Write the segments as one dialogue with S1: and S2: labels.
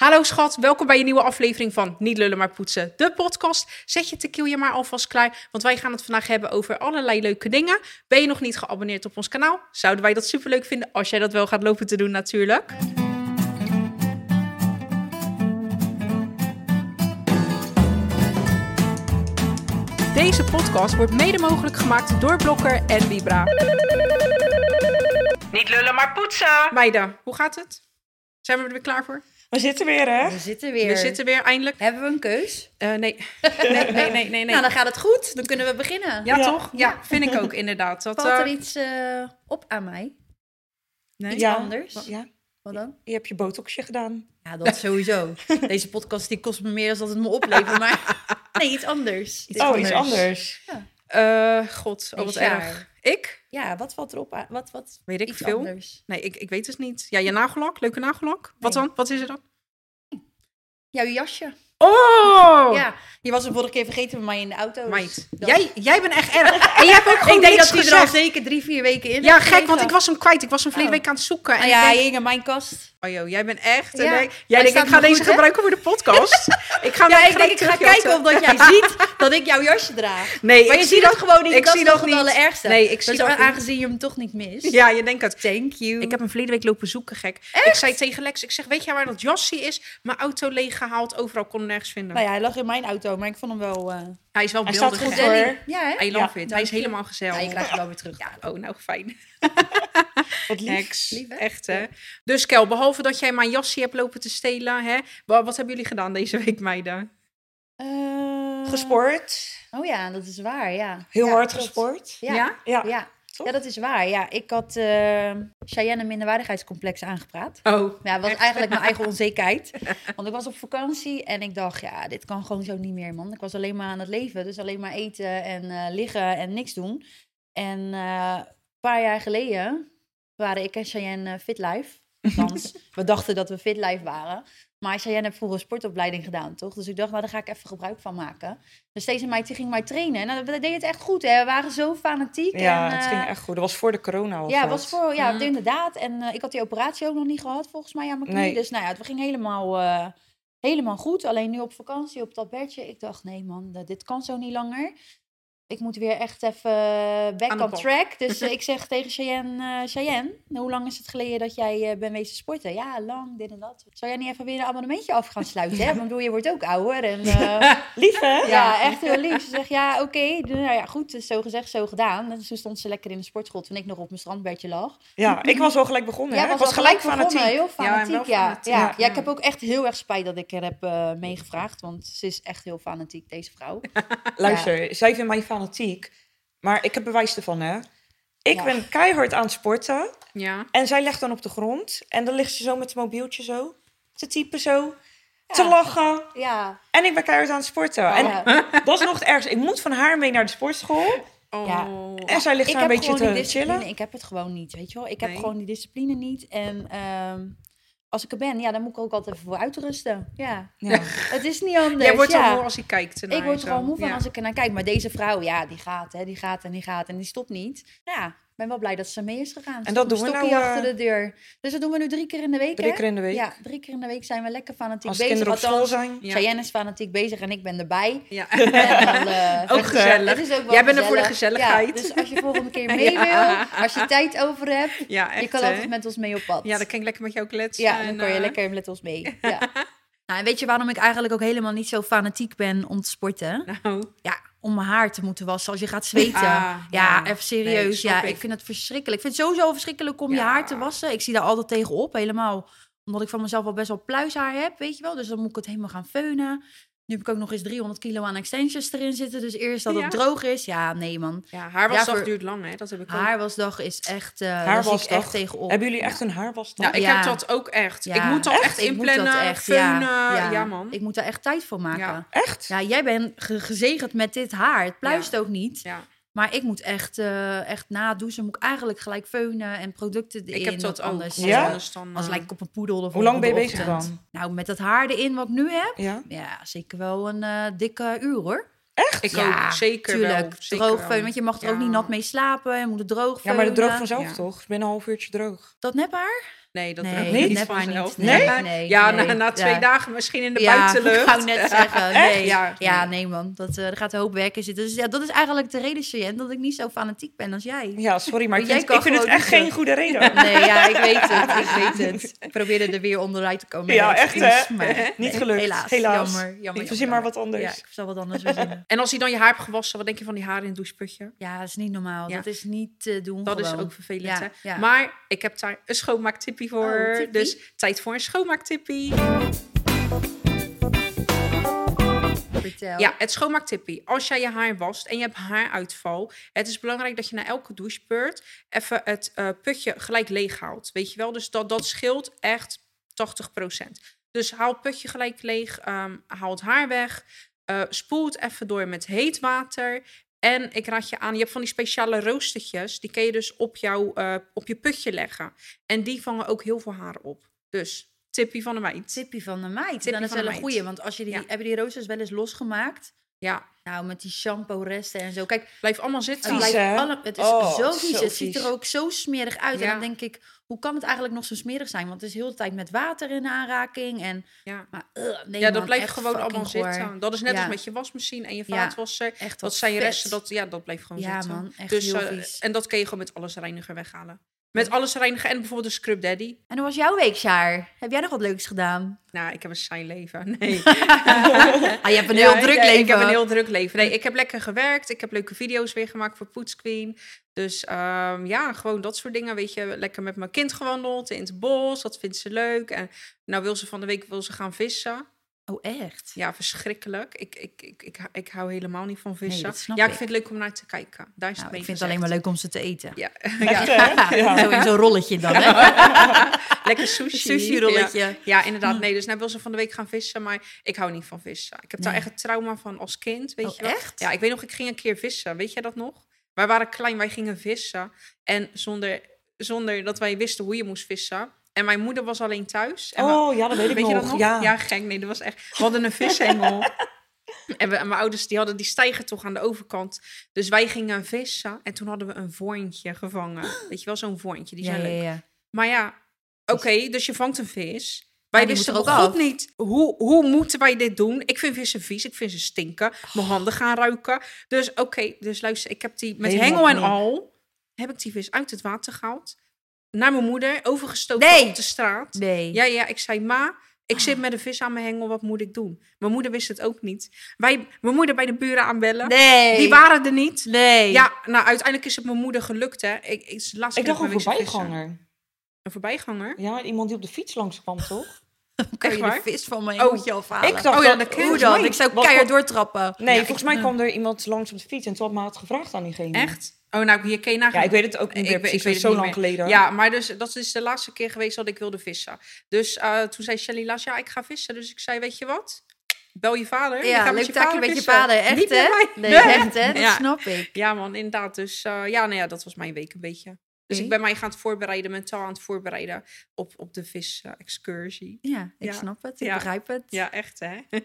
S1: Hallo schat, welkom bij je nieuwe aflevering van Niet lullen maar poetsen, de podcast. Zet je tequila maar alvast klaar, want wij gaan het vandaag hebben over allerlei leuke dingen. Ben je nog niet geabonneerd op ons kanaal? Zouden wij dat superleuk vinden als jij dat wel gaat lopen te doen natuurlijk. Deze podcast wordt mede mogelijk gemaakt door Blokker en Vibra.
S2: Niet lullen, maar poetsen.
S1: Meiden, hoe gaat het? Zijn we er weer klaar voor?
S2: We zitten weer, hè?
S3: We zitten weer.
S1: We zitten weer eindelijk.
S3: Hebben we een keus?
S1: Eh, nee. nee, nee, nee, nee, nee.
S3: Nou, dan gaat het goed. Dan kunnen we beginnen.
S1: Ja,
S2: Ja.
S1: toch? Ja, vind ik ook inderdaad. Dat,
S3: Valt er
S1: eh,
S3: iets eh, op aan mij?
S1: nee.
S2: ja.
S3: anders?
S2: Ja.
S3: Wat dan?
S2: Je hebt je botoxje gedaan.
S3: Ja, dat sowieso. Deze podcast die kost me meer dan dat het me oplevert, maar... Nee, iets anders.
S1: Iets
S2: oh,
S1: anders.
S2: iets anders.
S1: Eh, God, oh, wat
S3: Dit jaar.
S1: erg. Ik?
S3: Ja, wat valt erop aan? Wat, wat?
S1: Weet ik
S3: iets
S1: veel.
S3: anders.
S1: Nee, ik, ik weet het niet. Ja, je nagellak. Leuke nagellak. Wat
S3: Nee.
S1: dan? Wat is er dan?
S3: Jouw jasje.
S1: Oh!
S3: Ja, je was hem vorige keer vergeten bij mij in de auto.
S1: Meid,
S3: Oh, Dat-
S1: jij, jij bent echt erg. En jij hebt ook gewoon
S3: Ik denk
S1: niks
S3: dat hij er al
S1: gezegd.
S3: zeker drie, vier weken in
S1: Ja,
S3: heeft
S1: gek, want
S3: gelegen.
S1: ik was hem kwijt. Ik was hem verleden
S3: Oh.
S1: week aan het zoeken. En
S3: Nou ja,
S1: ik
S3: hij
S1: denk,
S3: hing in mijn kast.
S1: oh joh, jij bent echt... en
S3: Ja.
S1: jij-
S3: Maar
S1: jij denkt,
S3: staat
S1: ik ga
S3: nu
S1: deze
S3: goed, hè?
S1: gebruiken voor de podcast. ik ga hem
S3: Ja,
S1: ook
S3: ik
S1: gelijk
S3: denk, ik ga
S1: terugjatten.
S3: kijken of dat jij ziet dat ik jouw jasje draag.
S1: Nee,
S3: Maar
S1: ik
S3: je
S1: zie
S3: ziet dat gewoon niet.
S1: Ik
S3: dat
S1: zie
S3: is
S1: dat
S3: nog
S1: niet.
S3: het allerergste.
S1: Nee, ik zie
S3: dus
S1: dat niet.
S3: aangezien je hem toch niet mist.
S1: Ja, je denkt het.
S3: Thank you.
S1: Ik heb hem verleden week lopen zoeken, gek. Ik zei tegen Lex, ik zeg, weet jij waar dat jasje is? Mijn auto leeggehaald, overal kon hem nergens vinden.
S3: Nou ja, hij lag in mijn auto, maar ik vond hem wel... eh
S1: Hij is wel
S2: Hij
S1: beeldig,
S2: staat goed,
S1: gek.
S2: hoor.
S3: Ja, hè?
S1: I love it. Hij is
S3: dank je.
S1: helemaal gezellig.
S3: Ja, je krijgt hem wel weer terug. Ja,
S1: Oh, nou fijn.
S2: Wat lief.
S1: Lex.
S3: Lief, hè?
S1: Echt, hè? Dus Kel, behalve dat jij mijn jasje hebt lopen te stelen, hè? wa- Wat hebben jullie gedaan deze week, meiden?
S3: Eh,
S2: Gesport.
S3: Oh ja, dat is waar, ja.
S2: Heel
S3: Ja,
S2: hard
S3: klopt.
S2: gesport.
S3: Ja, ja.
S1: Ja?
S2: Ja.
S3: ja.
S2: Toch?
S3: dat is waar. Ja, ik had eh Cheyenne een minderwaardigheidscomplex aangepraat.
S1: Oh.
S3: Ja, dat nou, was eigenlijk mijn eigen onzekerheid. Want ik was op vakantie en ik dacht, ja, dit kan gewoon zo niet meer, man. Ik was alleen maar aan het leven. Dus alleen maar eten en eh, liggen en niks doen. En eh, een paar jaar geleden waren ik en Cheyenne eh, Fitlife. Althans, we dachten dat we Fitlife waren. Maar Cheyenne heeft vroeger een sportopleiding gedaan, toch? Dus ik dacht, nou, daar ga ik even gebruik van maken. Dus deze meid die ging mij trainen. Nou, dat deed het echt goed, hè? We waren zo fanatiek.
S2: Ja,
S3: en,
S2: het
S3: eh,
S2: ging echt goed. Dat was voor de corona al.
S3: ja,
S2: wat.
S3: was voor, ja
S1: Mm.
S3: inderdaad. En eh, ik had die operatie ook nog niet gehad, volgens mij, aan mijn knie.
S2: Nee.
S3: Dus nou ja, het ging helemaal, eh, helemaal goed. Alleen nu op vakantie, op dat bedje, ik dacht, nee man, eh, dit kan zo niet langer. Ik moet weer echt even eh,
S1: Aan
S3: back
S1: de
S3: on
S1: bak.
S3: track. Dus eh, ik zeg tegen Cheyenne, eh, Cheyenne, hoe lang is het geleden dat jij eh, bent wezen sporten? Ja, lang, dit en dat. Zou jij niet even weer een abonnementje af gaan sluiten? Hè? Want ik bedoel, je wordt ook ouder en... eh,
S2: Lief, hè?
S3: ja, echt heel lief. Ze zegt, ja, oké, nou ja, goed, dus zo gezegd, zo gedaan. En toen stond ze lekker in de sportschool toen ik nog op mijn strandbedje lag.
S2: Ja, ik was wel gelijk begonnen.
S3: Jij
S2: hè? Ik
S3: wel
S2: was gelijk fanatiek.
S3: begonnen, heel
S1: Ja, en
S3: fanatiek,
S1: wel
S3: ja.
S1: fanatiek,
S3: Ja,
S2: ja.
S3: ja. ik heb ook echt heel erg spijt dat ik er heb eh, meegevraagd, want ze is echt heel fanatiek, deze vrouw.
S2: Luister, zij vindt mij fanatiek. Maar ik heb bewijs ervan, hè? Ik
S3: Ja.
S2: ben keihard aan het sporten.
S1: Ja.
S2: En zij legt dan op de grond. En dan ligt ze zo met het mobieltje zo. Te typen zo. Te
S3: Ja.
S2: lachen.
S3: Ja, Eh,
S2: En ik ben keihard aan het sporten. en
S3: ja.
S2: dat is nog het ergste. Ik moet van haar mee naar de sportschool.
S1: Oh.
S3: Ja.
S2: En zij ligt
S3: ik
S2: daar een
S3: heb
S2: beetje
S3: gewoon die
S2: te
S3: discipline,
S2: chillen.
S3: ik heb het gewoon niet, weet je wel. Ik
S1: Nee.
S3: heb gewoon die discipline niet en... ehm, als ik er ben, ja, dan moet ik ook altijd even voor uitrusten. Ja,
S2: Ja.
S3: het is niet anders.
S1: Jij wordt
S3: ja.
S1: al moe als je kijkt. ernaar
S3: Ik word
S1: en
S3: er
S1: zo.
S3: al moe van
S1: Ja.
S3: als ik ernaar kijk. Maar deze vrouw, ja, die gaat, hè, die gaat en die gaat en die stopt niet. Ja, ik ben wel blij dat ze mee is gegaan.
S2: En dat
S3: Stop-
S2: doen we
S3: stokkie
S2: nou, eh,
S3: achter de deur. Dus dat doen we nu drie keer in de week,
S2: Drie
S3: hè?
S2: keer in de week.
S3: Ja, drie keer in de week zijn we lekker fanatiek
S2: Als de
S3: bezig.
S2: kinderen op school
S3: Althans,
S2: zijn.
S1: Ja.
S3: Cheyenne is fanatiek bezig en ik ben erbij.
S1: Ja.
S3: En dan, eh,
S1: Ook gezellig.
S3: het is ook wel
S1: Jij bent er voor de
S3: gezellig.
S1: gezelligheid.
S3: Ja, dus als je volgende keer mee
S1: Ja.
S3: wil, als je tijd over hebt,
S1: Ja, echt,
S3: je kan
S1: hè?
S3: altijd met ons mee op pad.
S1: Ja, dan kan ik lekker met jou kletsen.
S3: Ja, dan
S1: en,
S3: kan je
S1: eh,
S3: lekker met ons mee. Ja. Nou, en weet je waarom ik eigenlijk ook helemaal niet zo fanatiek ben om te sporten?
S1: Nou,
S3: ja, om mijn haar te moeten wassen als je gaat zweten.
S1: Ah,
S3: ja,
S1: ja.
S3: even
S1: Nee,
S3: serieus.
S1: snap
S3: ja,
S1: ik.
S3: ik vind het verschrikkelijk. Ik vind het sowieso al verschrikkelijk om je
S1: Ja.
S3: haar te wassen. Ik zie daar altijd tegen op, helemaal. Omdat ik van mezelf al best wel pluishaar heb, weet je wel. Dus dan moet ik het helemaal gaan feunen. Nu heb ik ook nog eens 300 kilo aan extensions erin zitten. Dus eerst dat het
S1: Ja.
S3: droog is. Ja, nee man.
S1: ja, haarwasdag
S3: Ja, voor-
S1: duurt lang, hè? Dat heb ik ook.
S3: Haarwasdag is echt... eh daar zie ik
S2: Haarwasdag.
S3: echt tegenop.
S2: Hebben jullie echt een haarwasdag?
S1: Nou, ik
S3: Oh, Ja.
S1: heb dat ook echt.
S3: Ja.
S1: Ik moet dat echt
S3: Ik moet dat
S1: inplannen,
S3: echt,
S1: feunen.
S3: ja,
S1: Ja,
S3: ja.
S1: man.
S3: Ik moet daar echt tijd voor maken.
S1: Ja.
S3: Ja,
S2: Echt?
S3: jij bent ge- gezegend met dit haar. Het pluist ook niet.
S1: Ja.
S3: Maar ik moet echt, eh echt na het douchen moet ik eigenlijk gelijk feunen en producten erin.
S1: Ik heb dat
S3: want
S1: ook.
S3: anders,
S1: want
S2: Ja?
S3: eh,
S1: dan, eh,
S3: anders lijk ik op een poedel. Of
S2: Hoe lang
S3: op
S2: ben je
S3: de
S2: bezig
S3: ochtend.
S2: dan?
S3: Nou, met dat haar erin wat ik nu heb,
S2: Ja.
S3: ja, zeker wel een eh, dikke uur hoor.
S1: Ik
S3: ja,
S1: ook, zeker
S3: Tuurlijk,
S1: wel. Zeker
S3: droog
S1: wel.
S3: feunen, want je mag er ook
S1: Ja.
S3: niet nat mee slapen. Je moet het droog
S2: Ja,
S3: feunen.
S2: maar dat droogt vanzelf
S1: Ja.
S2: toch? Binnen een half uurtje droog.
S3: Dat nephaar?
S1: Nee, dat
S3: Nee,
S1: nee,
S3: dat
S1: niet
S3: nep maar
S1: vanzelf.
S3: niet. Nee?
S1: Maar-
S3: Nee,
S1: ja, nou,
S3: nee.
S1: na, na twee
S3: Ja.
S1: dagen misschien in de
S3: ja,
S1: buitenlucht.
S3: Ik wou net zeggen. Nee.
S1: Ja.
S3: ja. nee man. Dat, eh, er gaat een hoop werk in zitten. Dus ja, dat is eigenlijk de reden, Cheyenne, dat ik niet zo fanatiek ben als jij.
S2: Ja, sorry, maar ik
S3: Jij
S2: vind,
S3: kan
S2: ik vind het
S3: gewoon
S2: echt
S3: niet,
S2: geen goede reden.
S3: Nee, ja, ik weet het. Ik weet het. Ik probeerde er weer onderuit te komen.
S2: Ja,
S3: met
S2: echt, hè?
S3: excuus, maar
S2: Niet
S3: nee,
S2: gelukt.
S3: Helaas.
S2: Helaas.
S3: Jammer, jammer, jammer.
S2: verzin maar
S3: jammer.
S2: wat anders.
S3: Ja, ik zal wat anders verzinnen.
S1: En als je dan je haar hebt gewassen, wat denk je van die haren in het doucheputje?
S3: Ja, dat is niet normaal.
S1: Ja.
S3: Dat is niet te doen
S1: Dat is
S3: gewoon.
S1: ook vervelend,
S3: Ja,
S1: hè?
S3: ja.
S1: Maar ik heb daar een schoonmaaktippie voor.
S3: Oh, tippie.
S1: dus tijd voor een schoonmaaktippie.
S3: Vertel.
S1: Ja, het schoonmaaktippie. Als jij je haar wast en je hebt haaruitval, het is belangrijk dat je na elke douchebeurt even het eh, putje gelijk leeg haalt. Weet je wel? Dus dat, dat scheelt echt 80%. Dus haal het putje gelijk leeg, ehm, haal het haar weg, eh, spoel het even door met heet water. En ik raad je aan, je hebt van die speciale roostertjes, die kun je dus op, jouw, eh, op je putje leggen. En die vangen ook heel veel haar op. Dus, tippie van de meid.
S3: Tippie van de meid.
S1: Tippie
S3: dan is
S1: van de
S3: wel een
S1: meid.
S3: goeie. Want als je die,
S1: Ja.
S3: hebben die roosters wel eens losgemaakt?
S1: Ja,
S3: Nou, met die shampoo resten en zo. Kijk,
S1: blijf allemaal zitten.
S3: Het,
S2: Vies,
S3: lijkt
S2: hè?
S3: alle- het is
S2: Oh,
S3: zo
S2: zo
S3: vies. het ziet
S2: vies.
S3: er ook zo smerig uit.
S1: Ja.
S3: En dan denk ik, hoe kan het eigenlijk nog zo smerig zijn? Want het is heel de tijd met water in aanraking. En,
S1: Ja.
S3: maar, ugh, nee,
S1: ja, dat
S3: man,
S1: blijft
S3: echt
S1: gewoon allemaal
S3: fucking goor.
S1: zitten. Dat is net
S3: Ja.
S1: als met je wasmachine en je
S3: Ja.
S1: vaatwasser.
S3: Echt
S1: Dat
S3: wat
S1: zijn je
S3: vet.
S1: resten, dat, ja, dat blijft gewoon
S3: Ja,
S1: zitten.
S3: man, echt
S1: dus,
S3: heel
S1: eh,
S3: vies.
S1: en dat kun je gewoon met alles reiniger weghalen. Met alles reiniger en bijvoorbeeld de Scrub Daddy.
S3: En hoe was jouw weekjaar? Heb jij nog wat leuks gedaan?
S1: Nou, ik heb een saai leven. Nee.
S3: Ah, je hebt een
S1: Eh, Ja,
S3: heel druk
S1: ja,
S3: leven.
S1: Ik heb een heel druk leven. Nee, ik heb lekker gewerkt. Ik heb leuke video's weer gemaakt voor Poets Queen. Dus ehm, ja, gewoon dat soort dingen. Weet je, lekker met mijn kind gewandeld in het bos. Dat vindt ze leuk. En nou wil ze van de week wil ze gaan vissen.
S3: Oh, echt?
S1: Ja, verschrikkelijk. Ik, ik, ik, ik, ik hou helemaal niet van vissen.
S3: dat snap
S1: ja, ik
S3: ik.
S1: vind het leuk om naar te kijken. Daar is
S3: Nou,
S1: het mee
S3: ik vind het alleen maar leuk om ze te eten.
S1: Ja,
S2: Echt, hè? Ja.
S3: Zo in zo'n rolletje dan, hè?
S1: lekker sushi.
S3: Een sushi-rolletje. Mm.
S1: Ja. ja, inderdaad. Nee, dus nou wil ze van de week gaan vissen, maar ik hou niet van vissen. Ik heb daar
S3: Nee.
S1: echt het trauma van als kind, weet
S3: Oh,
S1: je wel.
S3: echt?
S1: Ja, ik weet nog, ik ging een keer vissen. Weet jij dat nog? Wij waren klein, wij gingen vissen. En zonder, zonder dat wij wisten hoe je moest vissen. En mijn moeder was alleen thuis. En we-
S2: Oh, ja, dat weet ik
S1: Weet
S2: nog.
S1: je dat nog?
S2: Ja.
S1: Ja. gek. Nee, dat was echt... We hadden een vishengel. en, we, en mijn ouders die hadden die stijger toch aan de overkant. Dus wij gingen vissen. En toen hadden we een vorntje gevangen. Weet je wel, zo'n vorntje. Die
S3: Ja,
S1: zijn
S3: ja,
S1: leuk.
S3: ja.
S1: Maar ja, oké, dus je vangt een vis. Wij
S3: die
S1: wisten
S3: moet er
S1: ook
S3: ook
S1: goed
S3: af.
S1: niet, hoe, hoe moeten wij dit doen? Ik vind vissen vies, ik vind ze stinken. Mijn
S3: Oh.
S1: handen gaan ruiken. Dus oké, dus luister, ik heb die met
S2: Helemaal
S1: hengel en
S2: niet.
S1: al... heb ik die vis uit het water gehaald. Naar mijn moeder, overgestoken
S3: Nee.
S1: op de straat.
S3: Nee.
S1: Ja, ja, ik zei, ma, ik zit met een vis aan mijn hengel, wat moet ik doen? Mijn moeder wist het ook niet. Wij, mijn moeder bij de buren aanbellen.
S3: Nee.
S1: Die waren er niet.
S3: Nee.
S1: Ja, nou, uiteindelijk is het mijn moeder gelukt, hè. Ik, ik, is de laatste
S2: Ik
S1: keer
S2: dacht
S1: dat
S2: een
S1: ik mijn week zag vissen.
S2: voorbijganger.
S1: Een voorbijganger?
S2: Ja, iemand die op de fiets langskwam, toch?
S3: Kan je
S1: Echt waar?
S3: de vis van mijn
S1: Oh,
S3: engeltje afhalen?
S2: ik dacht
S1: Oh ja,
S2: dat,
S1: dat ken
S3: Hoe
S1: volgens
S3: dan?
S2: mij-
S3: Ik zou
S2: want-
S3: keihard doortrappen.
S2: Nee, volgens mij kwam er iemand langs op de fiets en toen had me het gevraagd aan diegene.
S1: Echt? Oh, nou, hier ken je nagaan.
S2: Ja, ik weet het ook niet meer precies,
S1: weet het
S2: het is zo
S1: niet
S2: lang
S1: meer.
S2: geleden.
S1: Ja, maar dus, dat is de laatste keer geweest dat ik wilde vissen. Dus eh, toen zei Shelly laatst, ja, ik ga vissen. Dus ik zei, weet je wat? Bel je vader. Je gaat
S3: Ja,
S1: met
S3: leuk
S1: je
S3: taakje
S1: vader
S3: met je
S1: vissen.
S3: vader. Echt,
S1: Niet met
S3: hè?
S1: mij.
S3: Nee, echt, hè? Dat
S1: Ja.
S3: snap ik.
S1: Ja, man, inderdaad. Dus eh, ja, nou ja, dat was mijn week een beetje. Dus
S3: Oké.
S1: ik ben mij gaan het voorbereiden, mentaal aan het voorbereiden op, op de vis-excursie.
S3: Ja, ik
S1: Ja.
S3: snap het. Ik
S1: Ja.
S3: begrijp het.
S1: ja, echt hè.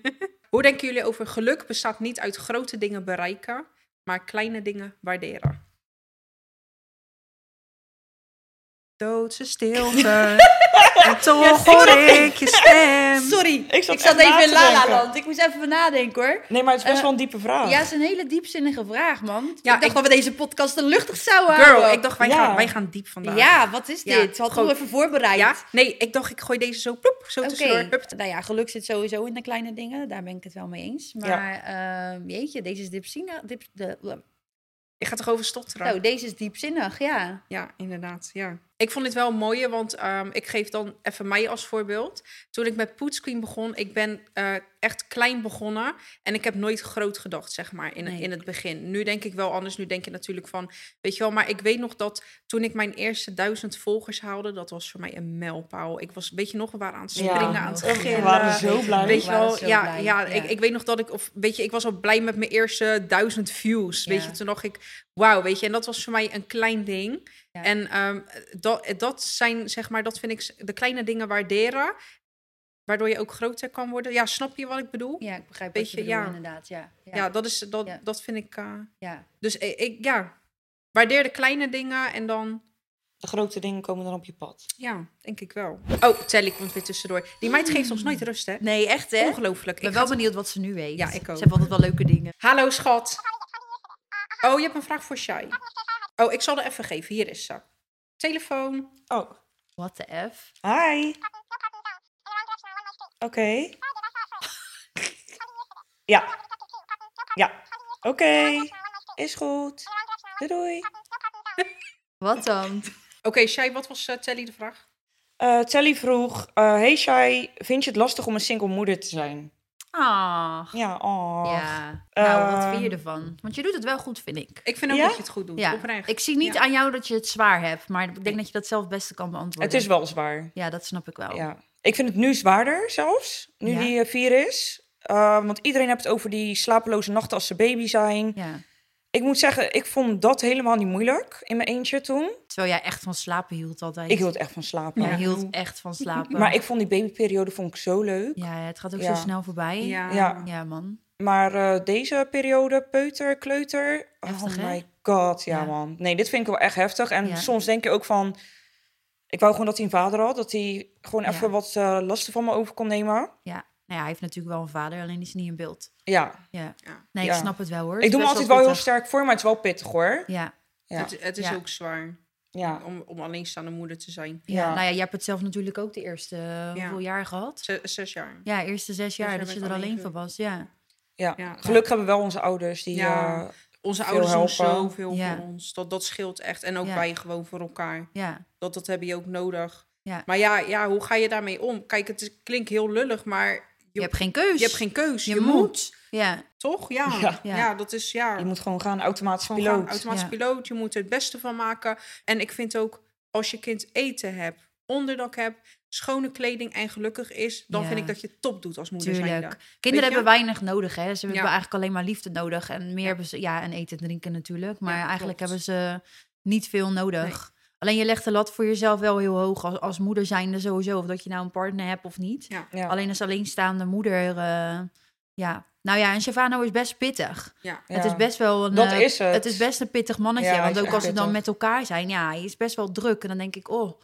S1: Hoe denken jullie over geluk bestaat niet uit grote dingen bereiken, maar kleine dingen waarderen? Doodse stilte. en toch hoor ik je stem.
S3: Sorry,
S2: Ik
S3: ik
S2: zat
S3: zat,
S2: echt na
S3: even in
S2: te
S3: La La
S2: denken.
S3: Land. Ik moest even nadenken hoor.
S2: Nee, maar het is best
S3: Eh,
S2: wel een diepe vraag.
S3: Ja, het is een hele diepzinnige vraag, man.
S1: Oh. Ja,
S3: Ja, ik dacht
S1: ik-
S3: dat we deze podcast te luchtig zouden
S1: Girl,
S3: houden.
S1: ik dacht wij,
S2: Ja.
S1: gaan, wij gaan diep vandaag.
S3: ja, wat is
S1: Ja,
S3: dit? Wat hadden
S1: gewoon-
S3: we even voorbereid.
S1: Ja? Nee, ik dacht ik gooi deze zo ploep, zo
S3: Oké,
S1: tussendoor. Hup.
S3: nou ja, geluk zit sowieso in de kleine dingen. Daar ben ik het wel mee eens. Maar ehm, jeetje, deze is diepzinnig. Diep, de,
S1: Ik ga toch over stotteren?
S3: nou, deze is diepzinnig, ja.
S1: Ja, inderdaad. Ja. Ik vond dit wel mooi, want ehm, ik geef dan even mij als voorbeeld. Toen ik met Poets Queen begon, ik ben eh, echt klein begonnen. En ik heb nooit groot gedacht, zeg maar, in,
S3: Nee.
S1: in het begin. Nu denk ik wel anders. Nu denk je natuurlijk van, weet je wel. Maar ik weet nog dat toen ik mijn eerste duizend volgers haalde, dat was voor mij een mijlpaal. Ik was, weet je nog, we waren aan het
S2: Ja.
S1: springen, aan het
S3: Oh, ja.
S1: gillen.
S2: We waren zo blij.
S1: Weet je
S3: We waren
S1: wel,
S3: zo
S1: ja,
S3: blij,
S1: ja, Ik, ik weet nog dat ik, of weet je, ik was al blij met mijn eerste duizend views. Weet
S3: Ja.
S1: je, toen dacht ik, wauw, weet je, en dat was voor mij een klein ding.
S3: Ja.
S1: En ehm, dat, dat zijn, zeg maar, dat vind ik s- de kleine dingen waarderen, waardoor je ook groter kan worden. Ja, snap je wat ik bedoel? Ja,
S3: Ja, ik begrijp
S1: Beetje,
S3: wat je bedoelt
S1: ja.
S3: inderdaad. Ja, ja, ja.
S1: dat is, dat,
S3: Ja.
S1: dat vind ik, eh, dus ik, ik, ja, waardeer de kleine dingen en dan
S2: De grote dingen komen dan op je pad.
S1: Ja, denk ik wel. Oh, Telly komt weer tussendoor. Die meid geeft ons nooit rust, hè?
S3: Nee, echt hè? Ik
S1: Ongelooflijk. Ik
S3: ben
S1: ga
S3: wel benieuwd wat ze nu weet.
S1: Ja, ik ook.
S3: Ze hebben altijd wel leuke dingen.
S1: Hallo schat. Oh, je hebt een vraag voor Shai. Oh, ik zal er even geven. Hier is ze. Telefoon.
S2: Oh,
S3: What the F?
S2: hi. Oké. Ja. Ja. Oké. Is goed. Doei doei.
S3: Wat dan?
S1: Oké, Shai, wat was eh, Telly de vraag?
S2: Eh, Telly vroeg, eh, hey Shai, vind je het lastig om een single moeder te zijn?
S3: Ah.
S2: Ja, oh.
S3: Ja. Nou, wat
S2: Ehm.
S3: vind je ervan? Want je doet het wel goed, vind ik.
S1: Ik vind ook
S2: Ja?
S1: dat je het goed doet.
S3: Ja.
S1: Oprecht.
S3: Ik zie niet
S1: Ja.
S3: aan jou dat je het zwaar hebt, maar ik denk dat je dat zelf het beste kan beantwoorden.
S2: Het is wel zwaar.
S3: Ja, dat snap ik wel.
S2: Ja. Ik vind het nu zwaarder zelfs, nu
S3: Oh. Ja.
S2: die eh, vier is. Eh, want iedereen heeft het over die slapeloze nachten als ze baby zijn.
S3: Ja.
S2: Ik moet zeggen, ik vond dat helemaal niet moeilijk in mijn eentje toen.
S3: Terwijl jij echt van slapen hield altijd.
S2: Ik hield echt van slapen.
S3: Jij
S1: Ja.
S3: hield echt van slapen.
S2: Maar ik vond die babyperiode vond ik zo leuk.
S3: Ja, het gaat ook
S2: Ja.
S3: zo snel voorbij.
S1: Ja.
S2: Ja.
S3: Ja, man.
S2: Maar eh, deze periode, peuter, kleuter.
S3: Heftig,
S2: oh
S3: hè?
S2: my god, ja,
S3: Ja.
S2: man. Nee, dit vind ik wel echt heftig. En
S3: Ja.
S2: soms denk je ook van... Ik wou gewoon dat hij een vader had. Dat hij gewoon
S3: Ja.
S2: even wat eh, lasten van me over kon nemen.
S3: Ja. Nou ja, hij heeft natuurlijk wel een vader, alleen is hij niet in beeld.
S2: Ja.
S3: Ja.
S1: Ja.
S3: Nee,
S2: Ja.
S3: ik snap het wel hoor. Het
S2: ik
S3: is
S2: doe me
S3: best
S2: altijd wel heel
S3: pittig.
S2: sterk voor, maar het is wel pittig hoor.
S3: Ja.
S2: Ja.
S1: Het, het is
S3: Ja.
S1: ook zwaar
S2: Ja.
S1: om, om alleenstaande moeder te zijn.
S3: Ja. nou ja, jij hebt het zelf natuurlijk ook de eerste eh, hoeveel jaar gehad.
S1: Ze- zes jaar.
S3: Ja, eerste zes jaar
S1: jij
S3: dat
S1: bent
S3: je er
S1: alleen
S3: alleen
S1: geweest.
S3: van was. Ja.
S2: ja.
S1: Ja.
S2: Gelukkig hebben we wel onze ouders die...
S1: Ja.
S2: eh,
S1: Onze
S2: Veel
S1: ouders doen
S2: helpen.
S1: zoveel
S3: Ja.
S1: voor ons. Dat, dat scheelt echt. En ook
S3: Ja.
S1: wij gewoon voor elkaar.
S3: ja.
S1: Dat, dat heb je ook nodig.
S3: Ja.
S1: Maar ja, ja, hoe ga je daarmee om? Kijk, het is- klinkt heel lullig, maar je,
S3: Je hebt geen keus.
S1: je hebt geen keus.
S3: Je
S1: Je,
S3: moet.
S1: moet.
S3: Ja.
S1: Toch? Ja.
S2: Ja.
S1: Ja.
S3: Ja.
S1: dat is ja.
S2: je moet gewoon gaan, automatisch
S1: Gewoon
S2: piloot.
S1: gaan, automatisch
S3: Ja.
S1: piloot. Je moet er het beste van maken. En ik vind ook, als je kind eten hebt, onderdak hebt, schone kleding en gelukkig is, dan
S3: Ja.
S1: vind ik dat je het top doet als moeder zijnde.
S3: Tuurlijk.
S1: Weet je?
S3: Kinderen hebben weinig nodig, hè? Ze hebben
S1: Ja.
S3: eigenlijk alleen maar liefde nodig. En meer hebben ze, ja, en eten en drinken natuurlijk. Maar eigenlijk hebben ze niet veel nodig. Alleen je legt de lat voor jezelf wel heel hoog als, als moeder zijnde sowieso. Of dat je nou een partner hebt of niet.
S1: Ja.
S2: Ja.
S3: Alleen als alleenstaande moeder, eh, ja. Nou ja, en Stefano is best pittig.
S1: Ja.
S2: Ja.
S3: Het is best wel een...
S2: Dat
S3: eh,
S2: is het.
S3: Het is best een pittig mannetje.
S2: Ja, hij
S3: want
S2: is
S3: ook
S2: echt
S3: als ze dan
S2: pittig.
S3: met elkaar zijn, ja, hij is best wel druk. En dan denk ik, oh,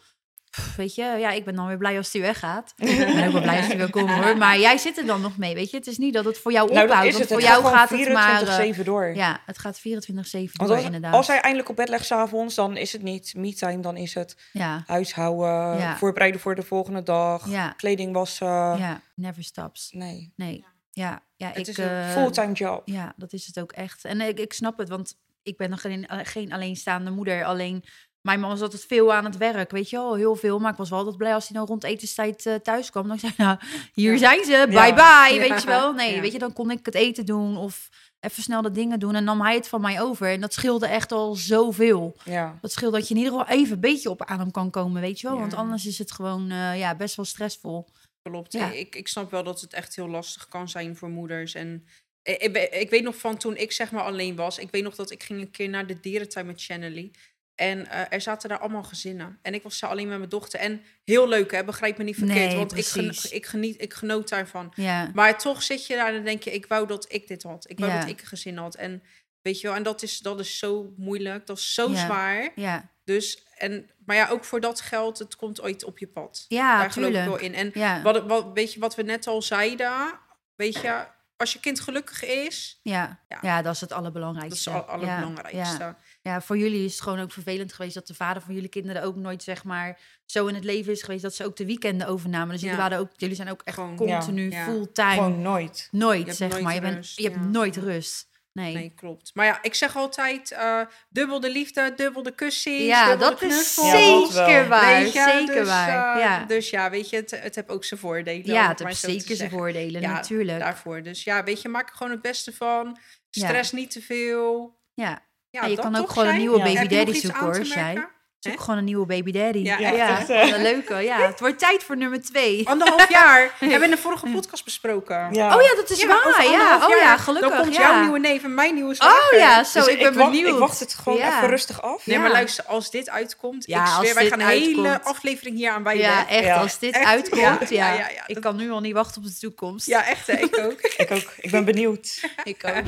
S3: pff, weet je, ja, ik ben dan weer blij als hij weggaat. ik ben ook wel blij als hij weer komt hoor. Maar jij zit er dan nog mee, weet je. Het is niet dat het voor jou
S2: Nou, dat
S3: ophoudt.
S2: is
S3: want
S2: het.
S3: voor
S2: Het
S3: jou
S2: gaat
S3: gaat het
S2: gewoon
S3: maar... eh,
S2: 24-7 door.
S3: ja, het gaat 24-7
S2: Want
S3: door,
S2: als,
S3: inderdaad.
S2: als hij eindelijk op bed legt s'avonds, dan is het niet me-time, dan is het
S3: Ja,
S2: huishouden,
S3: Ja.
S2: voorbereiden voor de volgende dag,
S3: Ja.
S2: kleding wassen.
S3: ja, never stops.
S2: Nee,
S3: Nee, ja. ja
S1: Het
S3: ik,
S1: is een
S3: eh,
S2: fulltime job.
S3: Ja, dat is het ook echt. En ik, ik snap het, want ik ben nog geen, geen alleenstaande moeder. Alleen mijn man was altijd veel aan het werk, weet je wel, heel veel. Maar ik was wel altijd blij als hij nou rond etenstijd eh, thuis kwam. Dan zei ik, nou, hier
S1: Ja.
S3: zijn ze, bye bye, weet je wel. Nee,
S1: Ja.
S3: weet je, dan kon ik het eten doen of even snel de dingen doen. En nam hij het van mij over. En dat scheelde echt al zoveel.
S2: Ja.
S3: Dat scheelt dat je in ieder geval even een beetje op adem kan komen, weet je wel.
S1: Ja.
S3: Want anders is het gewoon eh, ja, best wel stressvol.
S1: Klopt.
S3: Ja.
S1: Ik, ik snap wel dat het echt heel lastig kan zijn voor moeders. En eh, ik, ik, ben- ik weet nog van toen ik zeg maar alleen was. Ik weet nog dat ik ging een keer naar de dierentuin met Channelie. En eh, er zaten daar allemaal gezinnen. En ik was daar alleen met mijn dochter. En heel leuk, hè? begrijp me niet verkeerd.
S3: Nee,
S1: want ik, gen-
S3: precies.
S1: ik, geniet, ik genoot daarvan.
S3: Ja,
S1: Maar toch zit je daar en denk je, ik wou dat ik dit had. Ik wou
S3: Ja.
S1: dat ik een gezin had. En weet je wel, en dat is, dat is zo moeilijk. Dat is zo
S3: Ja.
S1: zwaar.
S3: ja,
S1: Dus, en, maar ja, ook voor dat geld, het komt ooit op je pad.
S3: ja,
S1: daar geloof ik wel
S3: tuurlijk.
S1: in. En
S3: Ja,
S1: wat, wat, weet je wat we net al zeiden? Weet je, als je kind gelukkig is,
S3: ja.
S1: Ja.
S3: ja, dat is het
S1: dat is
S3: allerbelangrijkste.
S1: het al-
S3: Ja,
S1: allerbelangrijkste.
S3: ja. Ja, voor jullie is het gewoon ook vervelend geweest dat de vader van jullie kinderen ook nooit zeg maar zo in het leven is geweest dat ze ook de weekenden overnamen. Dus jullie,
S1: Ja.
S3: waren ook, jullie zijn ook echt
S1: Gewoon,
S3: continu
S1: ja.
S3: fulltime.
S2: Gewoon nooit.
S3: Nooit,
S1: Je hebt
S3: zeg
S1: nooit
S3: maar. Je, bent,
S1: rust,
S3: je hebt
S1: ja.
S3: nooit rust. Nee.
S1: Nee, klopt. Maar ja, ik zeg altijd eh, dubbel de liefde, dubbel de kussie,
S3: Ja,
S1: dubbel
S3: dat
S1: de
S3: is
S1: knuffel.
S2: Ja, dat wel.
S3: zeker waar.
S1: Weet je,
S3: Zeker
S1: dus,
S3: waar.
S1: eh,
S3: ja.
S1: dus ja, weet je, het, het heeft ook zijn voordelen. om
S3: ja,
S1: het
S3: het
S1: maar
S3: heeft
S1: zo te
S3: zeker zijn
S1: zeggen.
S3: voordelen,
S1: Ja,
S3: natuurlijk.
S1: Daarvoor. Dus ja, weet je, maak er gewoon het beste van.
S3: Ja.
S1: Stress niet te veel.
S3: Ja.
S1: Ja,
S3: En je
S1: dat
S3: kan ook
S1: toch,
S3: gewoon een
S1: Shai?
S3: nieuwe
S2: Ja.
S3: baby
S1: Heb je nog
S3: daddy
S1: iets
S3: zoeken
S1: aan
S3: hoor,
S1: te
S3: Shai.
S1: merken?
S3: Zoek
S1: Hè?
S3: gewoon een nieuwe baby daddy.
S1: Ja, Oh,
S2: Ja,
S3: ja
S2: echt, hè?
S3: wat een leuke. Ja, het wordt tijd voor nummer twee.
S1: Anderhalf jaar. Hebben we in de vorige podcast besproken.
S2: Ja.
S3: Oh ja, dat is waar.
S1: over
S3: Ja,
S1: anderhalf
S3: oh ja,
S1: jaar,
S3: gelukkig.
S1: Dan komt
S3: ja.
S1: jouw nieuwe neef en mijn nieuwe zwager.
S3: Oh ja, zo,
S2: Dus
S3: ik ben
S2: wacht,
S3: benieuwd.
S2: Ik wacht het gewoon
S3: Ja.
S2: even rustig af.
S1: Nee,
S3: Ja.
S1: maar luister, als dit uitkomt,
S3: Ja,
S1: ik
S3: als
S1: zweer, wij
S3: dit
S1: gaan een hele
S3: uitkomt.
S1: aflevering hier aan wijden.
S3: Ja,
S1: Ja,
S3: echt,
S2: Ja.
S3: als dit
S1: Echt,
S3: uitkomt, ja.
S1: ja, ja, ja.
S3: Ik kan nu al niet wachten op de toekomst.
S1: echt, hè, ik ook.
S2: Ik ook. Ik ben benieuwd.
S3: ik ook.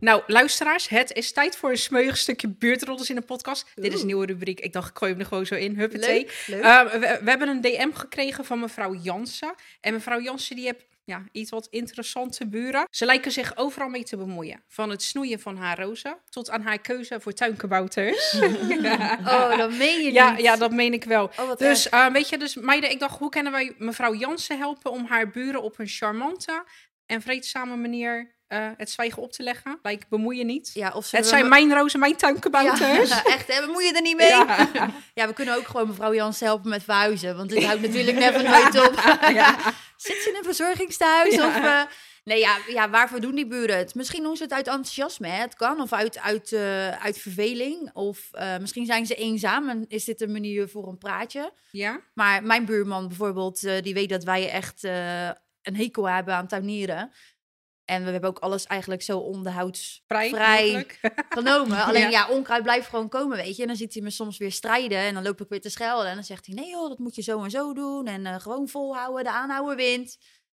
S1: Nou, luisteraars, het is tijd voor een smeuig stukje buurtroddels in de podcast. Dit is een nieuwe rubriek. Ik dacht, ik gooi hem er gewoon zo in. Huppatee.
S3: Leuk, leuk.
S1: Ehm, we, we hebben een DM gekregen van mevrouw Jansen. En mevrouw Jansen die heeft ja, iets wat interessante buren. Ze lijken zich overal mee te bemoeien. Van het snoeien van haar rozen tot aan haar keuze voor tuinkabouters.
S3: oh, dat meen je
S1: ja,
S3: niet.
S1: ja, dat meen ik wel.
S3: Oh, wat
S1: Dus eh, weet je, dus meiden, ik dacht, hoe kunnen wij mevrouw Jansen helpen om haar buren op een charmante en vreedzame manier eh, het zwijgen op te leggen? Like, bemoeien niet.
S3: Ja, of
S1: Het zijn mijn rozen, mijn tuinkabouters.
S3: Ja, echt, hè? bemoei je er niet mee. Ja.
S1: Ja.
S3: we kunnen ook gewoon mevrouw Jans helpen met verhuizen. Want dit houdt natuurlijk never nooit op. Zit ze in een verzorgingstehuis? Of, eh, nee, ja, ja, waarvoor doen die buren het? Misschien doen ze het uit enthousiasme, hè? het kan. Of uit, uit, eh, uit verveling. Of eh, misschien zijn ze eenzaam en is dit een manier voor een praatje.
S1: Ja?
S3: Maar mijn buurman bijvoorbeeld, eh, die weet dat wij echt eh, een hekel hebben aan tuinieren. En we hebben ook alles eigenlijk zo onderhouds
S1: Vrij.
S3: Vrij.
S1: mogelijk.
S3: genomen. Alleen
S1: Ja.
S3: ja. onkruid blijft gewoon komen, weet je. En dan ziet hij me soms weer strijden en dan loop ik weer te schelden. En dan zegt hij, nee joh, dat moet je zo en zo doen. En eh, gewoon volhouden, de aanhouwer wint.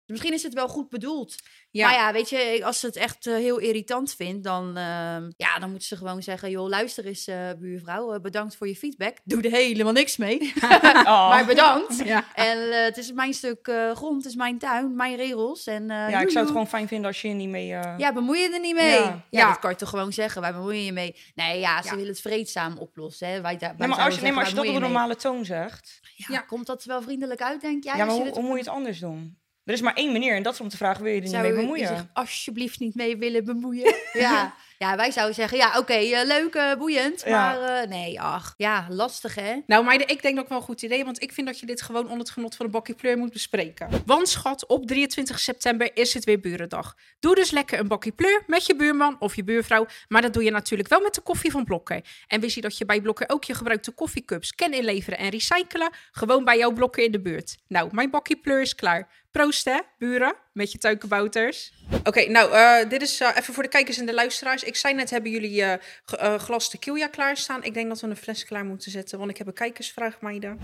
S3: Dus misschien is het wel goed bedoeld.
S1: Ja.
S3: Maar ja, weet je, als ze het echt eh, heel irritant vindt, dan, ehm, ja, dan moeten ze gewoon zeggen... joh, luister eens eh, buurvrouw, eh, bedankt voor je feedback. Doe er helemaal niks mee,
S2: Oh.
S3: maar bedankt.
S1: Ja.
S2: Ah.
S3: En eh, het is mijn stuk eh, grond, het is mijn tuin, mijn regels. En, eh,
S2: Ja, ik
S3: joejoe.
S2: zou het gewoon fijn vinden als je er niet mee... eh,
S3: Ja, bemoei je er niet mee.
S2: Ja.
S3: Ja,
S1: Ja.
S3: dat kan je toch gewoon zeggen. Wij bemoeien je mee. Nee, ja, ze
S1: Ja.
S3: willen het vreedzaam oplossen. Hè. Wij, da- wij
S2: nee, maar als,
S3: zouden
S2: je- nee, maar als je
S3: zeggen,
S2: dat
S3: wij
S2: op een
S3: bemoeien
S2: normale toon zegt...
S3: je mee. Ja, komt dat wel vriendelijk uit, denk jij?
S2: Ja, maar
S3: Als je
S2: hoe,
S3: dit-
S2: hoe moet je het anders doen? Er is maar één manier en dat is om te vragen, wil je er niet
S3: zou
S2: mee
S3: je
S2: bemoeien?
S3: zich alsjeblieft niet mee willen bemoeien? ja. ja, wij zouden zeggen, ja, oké, eh, leuk, eh, boeiend.
S2: Ja.
S3: Maar eh, nee, ach, ja, lastig hè?
S1: Nou, meiden, ik denk dat ik wel een goed idee, want ik vind dat je dit gewoon onder het genot van een bakje pleur moet bespreken. Want schat, op 23 september is het weer Burendag. Doe dus lekker een bakje pleur met je buurman of je buurvrouw, maar dat doe je natuurlijk wel met de koffie van Blokker. En wist je dat je bij Blokker ook je gebruikte koffiecups kan inleveren en recyclen? Gewoon bij jouw Blokker in de buurt. Nou, mijn bakje pleur is klaar. Proost hè, buren, met je tuinkabouters. Oké, nou, eh, dit is eh, even voor de kijkers en de luisteraars. Ik zei net, hebben jullie eh, ge- eh, glas tequila klaarstaan? Ik denk dat we een fles klaar moeten zetten, want ik heb een kijkersvraag, meiden.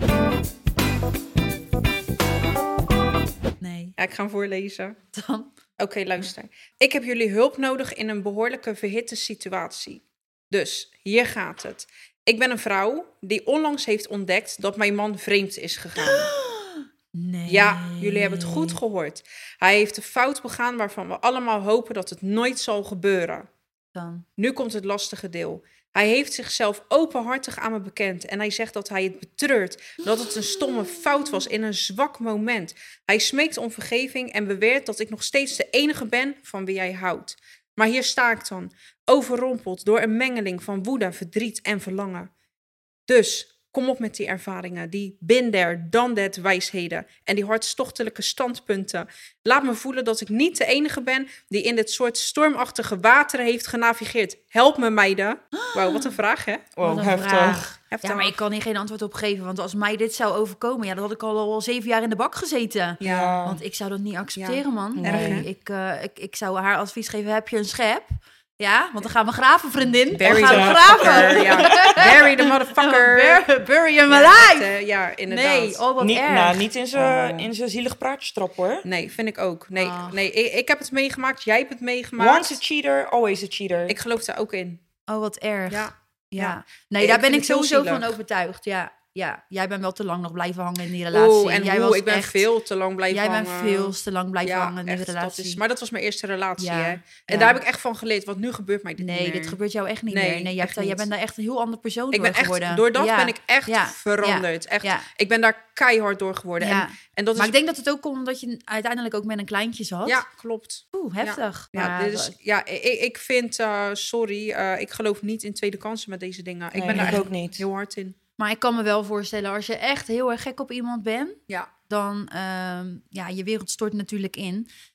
S3: Nee.
S1: Ja, ik ga hem voorlezen.
S3: Dan,
S1: Oké, luister. Ik heb jullie hulp nodig in een behoorlijke verhitte situatie. Dus, hier gaat het. Ik ben een vrouw die onlangs heeft ontdekt dat mijn man vreemd is gegaan.
S3: nee.
S1: Ja, jullie hebben het goed gehoord. Hij heeft een fout begaan waarvan we allemaal hopen dat het nooit zal gebeuren.
S3: Dan.
S1: Nu komt het lastige deel. Hij heeft zichzelf openhartig aan me bekend en hij zegt dat hij het betreurt, dat het een stomme fout was in een zwak moment. Hij smeekt om vergeving en beweert dat ik nog steeds de enige ben van wie hij houdt. Maar hier sta ik dan, overrompeld door een mengeling van woede, verdriet en verlangen. Dus kom op met die ervaringen, die binder dan that wijsheden en die hartstochtelijke standpunten. Laat me voelen dat ik niet de enige ben die in dit soort stormachtige wateren heeft genavigeerd. Help me, meiden. Wauw, wat een vraag, hè?
S2: Wow,
S3: Wat een
S2: heftig.
S3: vraag.
S1: Oh, Heftig.
S3: Ja, maar ik kan hier geen antwoord op geven. Want als mij dit zou overkomen, ja, dan had ik al, al zeven jaar in de bak gezeten.
S1: Ja.
S3: Want ik zou dat niet accepteren, man.
S2: Nee.
S3: Nee, ik, eh, ik, ik zou haar advies geven: heb je een schep? Ja, want dan gaan we graven, vriendin.
S1: Bury
S3: dan gaan
S1: the
S3: we graven.
S1: motherfucker, ja. Bury the motherfucker.
S3: Bur- Oh, bury him
S1: Ja,
S3: alive.
S1: dat, eh, ja, inderdaad.
S3: nee, oh wat
S2: Niet,
S3: erg.
S2: nou, niet in zijn
S1: Oh.
S2: in zijn zielig praatje trappen, hoor.
S1: Nee, vind ik ook. Nee,
S3: Ach.
S1: nee ik, ik heb het meegemaakt. Jij hebt het meegemaakt.
S2: Once a cheater, always a cheater.
S1: Ik geloof daar ook in.
S3: Oh wat erg. Ja.
S1: Ja. ja.
S3: Nee,
S1: Ik
S3: daar ben
S1: vind
S3: ik
S1: het heel
S3: sowieso
S1: zielig.
S3: van overtuigd. Ja. ja, jij bent wel te lang nog blijven hangen in die relatie.
S1: Oeh, en
S3: jij
S1: hoe,
S3: was
S1: ik ben
S3: echt-
S1: veel te lang blijven
S3: Jij
S1: hangen.
S3: bent veel te lang blijven hangen in die
S1: echt, dat
S3: relatie.
S1: is- maar dat was mijn eerste relatie,
S3: Ja,
S1: hè. En
S3: ja.
S1: daar heb ik echt van geleerd, want nu gebeurt mij dit niet
S3: Nee,
S1: meer.
S3: dit gebeurt jou echt niet
S1: Nee,
S3: meer. Nee, jij,
S1: echt
S3: hebt daar- jij
S1: niet.
S3: bent daar echt een heel ander persoon
S1: Ik
S3: door
S1: ben echt,
S3: geworden.
S1: door dat
S3: Ja.
S1: ben ik echt
S3: Ja.
S1: veranderd. Echt,
S3: Ja.
S1: Ik ben daar keihard door geworden.
S3: Ja.
S1: En, en dat is...
S3: Maar ik denk dat het ook komt omdat je uiteindelijk ook met een kleintje zat.
S1: Ja, klopt.
S3: Oeh, heftig.
S1: Ja,
S3: Maar
S1: dit is, ja ik, ik vind, eh, sorry, eh, ik geloof niet in tweede kansen met deze dingen. ik
S2: Nee,
S1: ben daar
S2: ik
S1: echt
S2: ook niet.
S1: heel hard in.
S3: Maar ik kan me wel voorstellen, als je echt heel erg gek op iemand bent,
S1: Ja.
S3: dan ehm ja, je wereld stort natuurlijk in.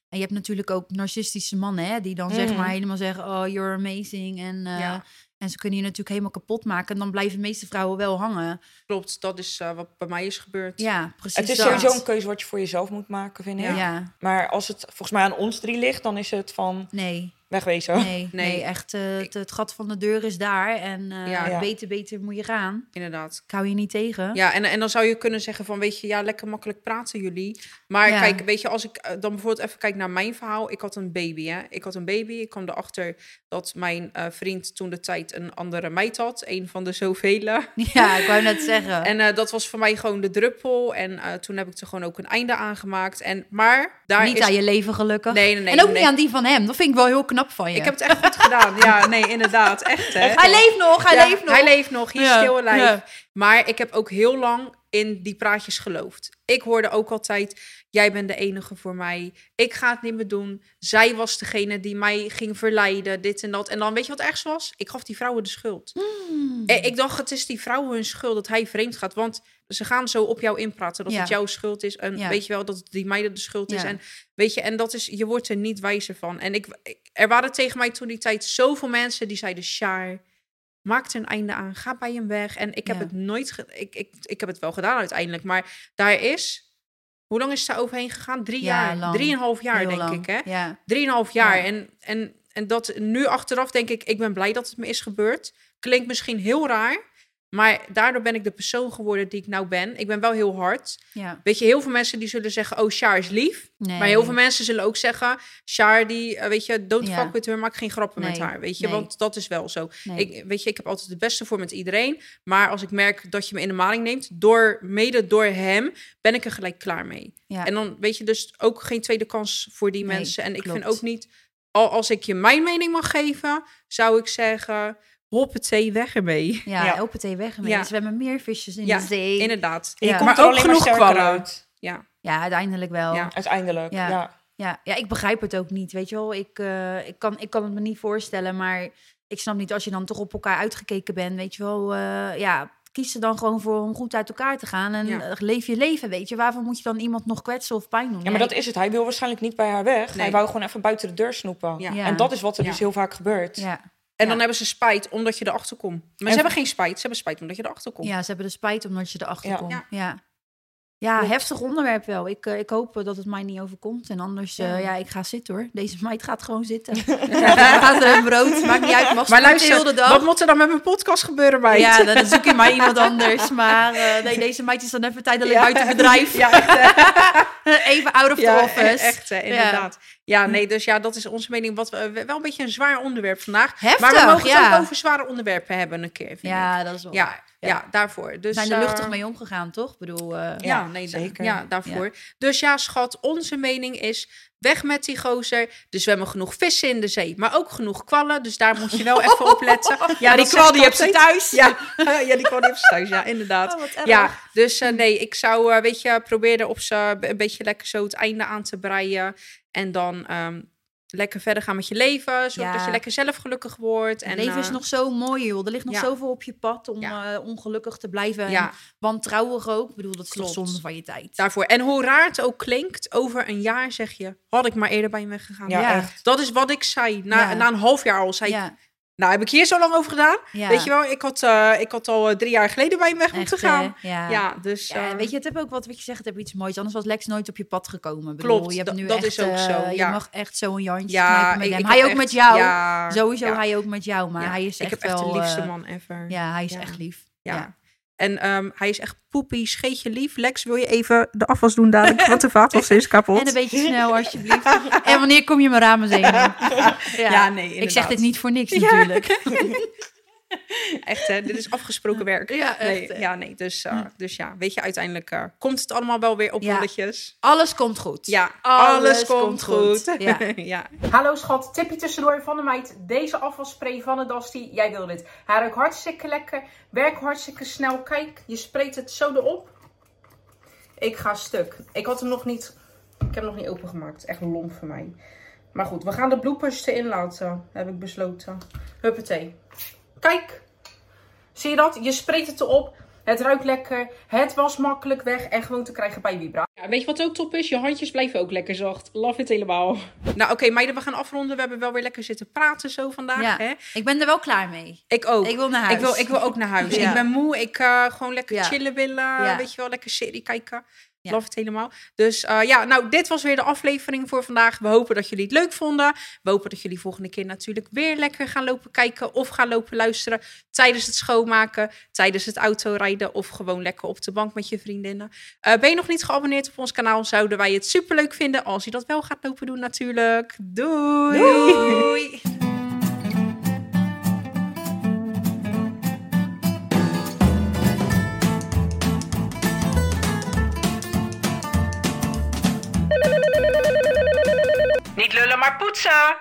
S3: En je hebt natuurlijk ook narcistische mannen, hè, die dan zeg
S2: Mhm.
S3: maar helemaal zeggen, oh, you're amazing. En, eh,
S1: Mm. Ja.
S3: en ze kunnen je natuurlijk helemaal kapot maken. En dan blijven de meeste vrouwen wel hangen.
S1: Klopt, dat is eh, wat bij mij is gebeurd.
S3: Ja, precies.
S2: het is
S3: dat.
S2: sowieso een keuze wat je voor jezelf moet maken, vind ik.
S3: Ja.
S2: Maar als het volgens mij aan ons drie ligt, dan is het van...
S3: nee.
S2: wegwezen.
S3: Nee, nee.
S1: Oh, Nee.
S3: echt. eh, het, het gat van de deur is daar. En eh,
S1: Ja.
S2: Ja.
S3: beter, beter moet je gaan.
S1: inderdaad.
S3: Ik hou je niet tegen.
S1: Ja, en, en dan zou je kunnen zeggen van, weet je, ja, lekker makkelijk praten jullie. Maar
S3: Ja.
S1: kijk, weet je, als ik eh, dan bijvoorbeeld even kijk naar mijn verhaal. Ik had een baby, hè. Ik had een baby. Ik kwam erachter dat mijn eh, vriend toen de tijd een andere meid had. Een van de zoveel.
S3: Ja, ik wou net zeggen.
S1: En eh, dat was voor mij gewoon de druppel. En eh, toen heb ik er gewoon ook een einde aan gemaakt. En, maar daar
S3: niet
S1: is...
S3: aan je leven gelukkig.
S1: Nee, nee, nee.
S3: en ook
S1: nee.
S3: niet aan die van hem. Dat vind ik wel heel knap van je.
S1: Ik heb het echt goed gedaan. Ja, nee, inderdaad. Echt, hè.
S3: Hij leeft nog, hij
S1: Ja,
S3: leeft nog.
S1: Hij leeft nog, hier
S3: Ja,
S1: stil en lijf.
S3: ja.
S1: Maar ik heb ook heel lang in die praatjes geloofd. Ik hoorde ook altijd, jij bent de enige voor mij. Ik ga het niet meer doen. Zij was degene die mij ging verleiden, dit en dat. En dan, weet je wat ergens was? Ik gaf die vrouwen de schuld.
S3: Hmm.
S1: Eh, Ik dacht, het is die vrouwen hun schuld dat hij vreemd gaat. Want ze gaan zo op jou inpraten dat
S3: Ja.
S1: het jouw schuld is. En
S3: Ja.
S1: weet je wel, dat het die meiden de schuld is.
S3: Ja.
S1: En Weet je, en dat is, je wordt er niet wijzer van. En ik, ik- er waren tegen mij toen die tijd zoveel mensen die zeiden: Sjaar, maak er een einde aan, ga bij hem weg. En ik heb
S3: Ja.
S1: het nooit, ge- ik, ik, ik heb het wel gedaan uiteindelijk, maar daar is, hoe lang is het daar overheen gegaan? Drie
S3: Ja,
S1: jaar,
S3: lang.
S1: drieënhalf jaar
S3: Heel
S1: denk
S3: lang.
S1: ik, hè?
S3: Ja.
S1: Drieënhalf jaar.
S3: Ja.
S1: En, en, en dat nu achteraf denk ik, ik ben blij dat het me is gebeurd. Klinkt misschien heel raar, maar daardoor ben ik de persoon geworden die ik nou ben. Ik ben wel heel hard.
S3: ja.
S1: Weet je, heel veel mensen die zullen zeggen, oh, Sjaar is lief.
S3: Nee.
S1: Maar heel veel mensen zullen ook zeggen, Char die, eh, weet je, don't
S3: Ja.
S1: fuck with her, maak geen grappen met
S3: Nee,
S1: haar, weet je,
S3: nee.
S1: want dat is wel zo.
S3: Nee.
S1: Ik, weet je, ik heb altijd het beste voor met iedereen, maar als ik merk dat je me in de maling neemt, door, mede door hem, ben ik er gelijk klaar mee.
S3: Ja.
S1: En dan, weet je, dus ook geen tweede kans voor die
S3: Nee,
S1: mensen. En ik
S3: klopt.
S1: vind ook niet, al als ik je mijn mening mag geven, zou ik zeggen, hoppatee, weg ermee.
S3: Ja,
S2: Ja.
S3: LPT weg ermee.
S1: Ja.
S3: Er zwemmen meer visjes in
S1: Ja,
S3: de zee.
S1: Inderdaad.
S2: En je
S3: Ja.
S2: komt
S1: Maar
S2: er
S1: ook
S2: alleen maar
S1: genoeg
S2: sterker
S1: kwallen.
S2: uit.
S1: Ja,
S3: Ja, uiteindelijk wel.
S1: Ja.
S3: Ja.
S2: Uiteindelijk,
S3: Ja.
S2: ja.
S3: Ja, ik begrijp het ook niet. Weet je wel, ik, eh, ik, kan, ik kan het me niet voorstellen. Maar ik snap niet als je dan toch op elkaar uitgekeken bent. Weet je wel, eh, ja, kies er dan gewoon voor om goed uit elkaar te gaan. En
S1: Ja.
S3: eh, leef je leven, weet je. Waarvoor moet je dan iemand nog kwetsen of pijn doen?
S2: Ja, maar dat is het. Hij wil waarschijnlijk niet bij haar weg.
S1: Nee.
S2: Hij wou gewoon even buiten de deur snoepen.
S1: Ja.
S3: Ja.
S2: En dat is wat er
S1: Ja.
S2: dus heel vaak gebeurt.
S3: Ja.
S1: En
S3: Ja.
S1: dan hebben ze spijt omdat je erachter komt. Maar
S2: En-
S1: ze hebben geen spijt. Ze hebben spijt omdat je erachter komt.
S3: ja, ze hebben er spijt omdat je erachter
S2: Ja.
S3: komt.
S1: Ja.
S3: Ja. ja. Ja,
S1: Klopt.
S3: heftig onderwerp wel. Ik, eh, ik hoop eh, dat het mij niet overkomt. En anders, eh, ja, ik ga zitten hoor. Deze meid gaat gewoon zitten. ja, gaat er een brood. Maakt niet uit. Mag
S1: Maar
S3: sporten
S1: luister,
S3: heel de dag.
S1: wat moet er dan met mijn podcast gebeuren, meid?
S3: Ja, dan zoek je maar iemand anders. Maar eh, nee, deze meid is dan even tijdelijk
S1: Ja.
S3: buiten bedrijf.
S1: Ja, echt, hè.
S3: Even out of the
S1: ja, e-
S3: office.
S1: echt hè, inderdaad. Ja. nee, dus ja, dat is onze mening. Wat, we- wel een beetje een zwaar onderwerp vandaag.
S3: Heftig,
S1: maar we mogen het
S3: ja.
S1: ook over zware onderwerpen hebben een keer, vind ik.
S3: Ja, dat is wel. Oh, Ja,
S1: Ja, ja, daarvoor. Dus,
S3: zijn er
S1: eh,
S3: luchtig mee omgegaan, toch? Ik bedoel, eh,
S1: Ja,
S2: Ja,
S1: nee, zeker.
S2: zeker.
S1: Ja, daarvoor. Dus ja, schat, onze mening is... weg met die gozer. Er zwemmen genoeg vissen in de zee, maar ook genoeg kwallen. Dus daar moet je wel even op letten. Ja, dat zeg ik altijd.
S3: thuis. Ja.
S1: Ja, ja die kwam niet op z'n thuis. Ja, inderdaad.
S3: Oh, wat erg. Hm.
S1: ja, dus eh, nee, ik zou, eh, weet je, proberen op ze een beetje lekker zo het einde aan te breien. En dan ehm, lekker verder gaan met je leven. Zorg
S3: Ja.
S1: dat je lekker zelf gelukkig wordt. En,
S3: Het leven is
S1: eh,
S3: nog zo mooi, joh. Er ligt nog
S1: ja.
S3: zoveel op je pad om eh, ongelukkig te blijven.
S1: Ja.
S3: En wantrouwig ook. Ik bedoel, dat is toch
S1: Klopt.
S3: zonde van je tijd.
S1: Daarvoor. En hoe raar het ook klinkt, over een jaar zeg je, had ik maar eerder bij hem weggegaan.
S2: Ja,
S3: Ja.
S2: echt.
S1: Dat is wat ik zei. Na,
S3: Ja.
S1: na een half jaar al zei ik,
S3: ja.
S1: nou heb ik hier zo lang over gedaan.
S3: ja.
S1: Weet je wel, ik had, eh, ik had al eh, drie jaar geleden bij hem weg moeten
S3: Echt, hè?
S1: gaan.
S3: Ja.
S1: Ja.
S3: ja.
S1: dus... eh,
S3: en weet je, het heb ook wat, wat je zegt, het heb iets moois. Anders was Lex nooit op je pad gekomen. Ik
S1: Klopt,
S3: bedoel, je hebt
S1: dat-
S3: nu
S1: dat
S3: echt,
S1: is ook
S3: eh,
S1: zo, ja.
S3: Je mag echt zo een jantje
S1: ja,
S3: knijpen met
S1: ik-
S3: hem.
S1: ik
S3: hij
S1: heb
S3: ook
S1: echt-
S3: met jou.
S1: ja,
S3: Sowieso
S1: ja.
S3: hij ook met jou, maar
S1: Ja,
S3: hij is
S1: ik
S3: echt
S1: heb echt
S3: wel...
S1: de liefste
S3: eh,
S1: man ever. Ja.
S3: ja, hij is
S1: Ja.
S3: echt lief.
S1: Ja.
S3: Ja.
S1: En ehm, hij is echt poepie, scheetje lief. Lex, wil je even de afwas doen dadelijk? Want de vaatwas is kapot.
S3: En een beetje snel, alsjeblieft. en wanneer kom je mijn ramen zingen? Ja,
S1: Ja, nee,
S3: Ik
S1: inderdaad.
S3: zeg dit niet voor niks,
S1: Ja.
S3: natuurlijk.
S1: Echt, hè? Dit is afgesproken werk.
S3: Ja, echt,
S1: nee,
S3: hè? Hm.
S1: ja, nee. Dus, eh, dus ja, weet je, uiteindelijk eh, komt het allemaal wel weer op
S3: Ja.
S1: rolletjes.
S3: Alles komt goed.
S1: Ja, alles,
S3: Alles
S1: komt,
S3: komt
S1: goed.
S3: goed. Ja.
S1: ja. Hallo schat, tipje tussendoor van de meid. Deze afvalspray van de Dusty, jij wil dit. Hij ruikt hartstikke lekker, werk hartstikke snel. Kijk, je spreekt het zo erop. Ik ga stuk. Ik had hem nog niet, ik heb hem nog niet opengemaakt. Echt lomp voor mij. Maar goed, we gaan de bloepers erin laten, heb ik besloten. Huppatee. Kijk, zie je dat? Je spreekt het erop. Het ruikt lekker, het was makkelijk weg en gewoon te krijgen bij Vibra. Ja, weet je wat ook top is? Je handjes blijven ook lekker zacht. Love it helemaal. Nou oké, meiden, we gaan afronden. We hebben wel weer lekker zitten praten zo vandaag.
S3: Ja.
S1: Hè?
S3: Ik ben er wel klaar mee.
S1: Ik ook.
S3: Ik wil naar huis.
S1: Ik wil, ik wil ook naar huis.
S3: Ja.
S1: Ik ben moe. Ik eh gewoon lekker
S3: Ja.
S1: chillen willen.
S3: Ja.
S1: Weet je wel, lekker serie kijken.
S3: Ja.
S1: Love het helemaal. Dus eh, ja, nou, dit was weer de aflevering voor vandaag. We hopen dat jullie het leuk vonden. We hopen dat jullie volgende keer natuurlijk weer lekker gaan lopen kijken of gaan lopen luisteren tijdens het schoonmaken, tijdens het autorijden of gewoon lekker op de bank met je vriendinnen. Eh, ben je nog niet geabonneerd op ons kanaal? Zouden wij het superleuk vinden als je dat wel gaat lopen doen natuurlijk. Doei! Doei. Niet lullen, maar poetsen!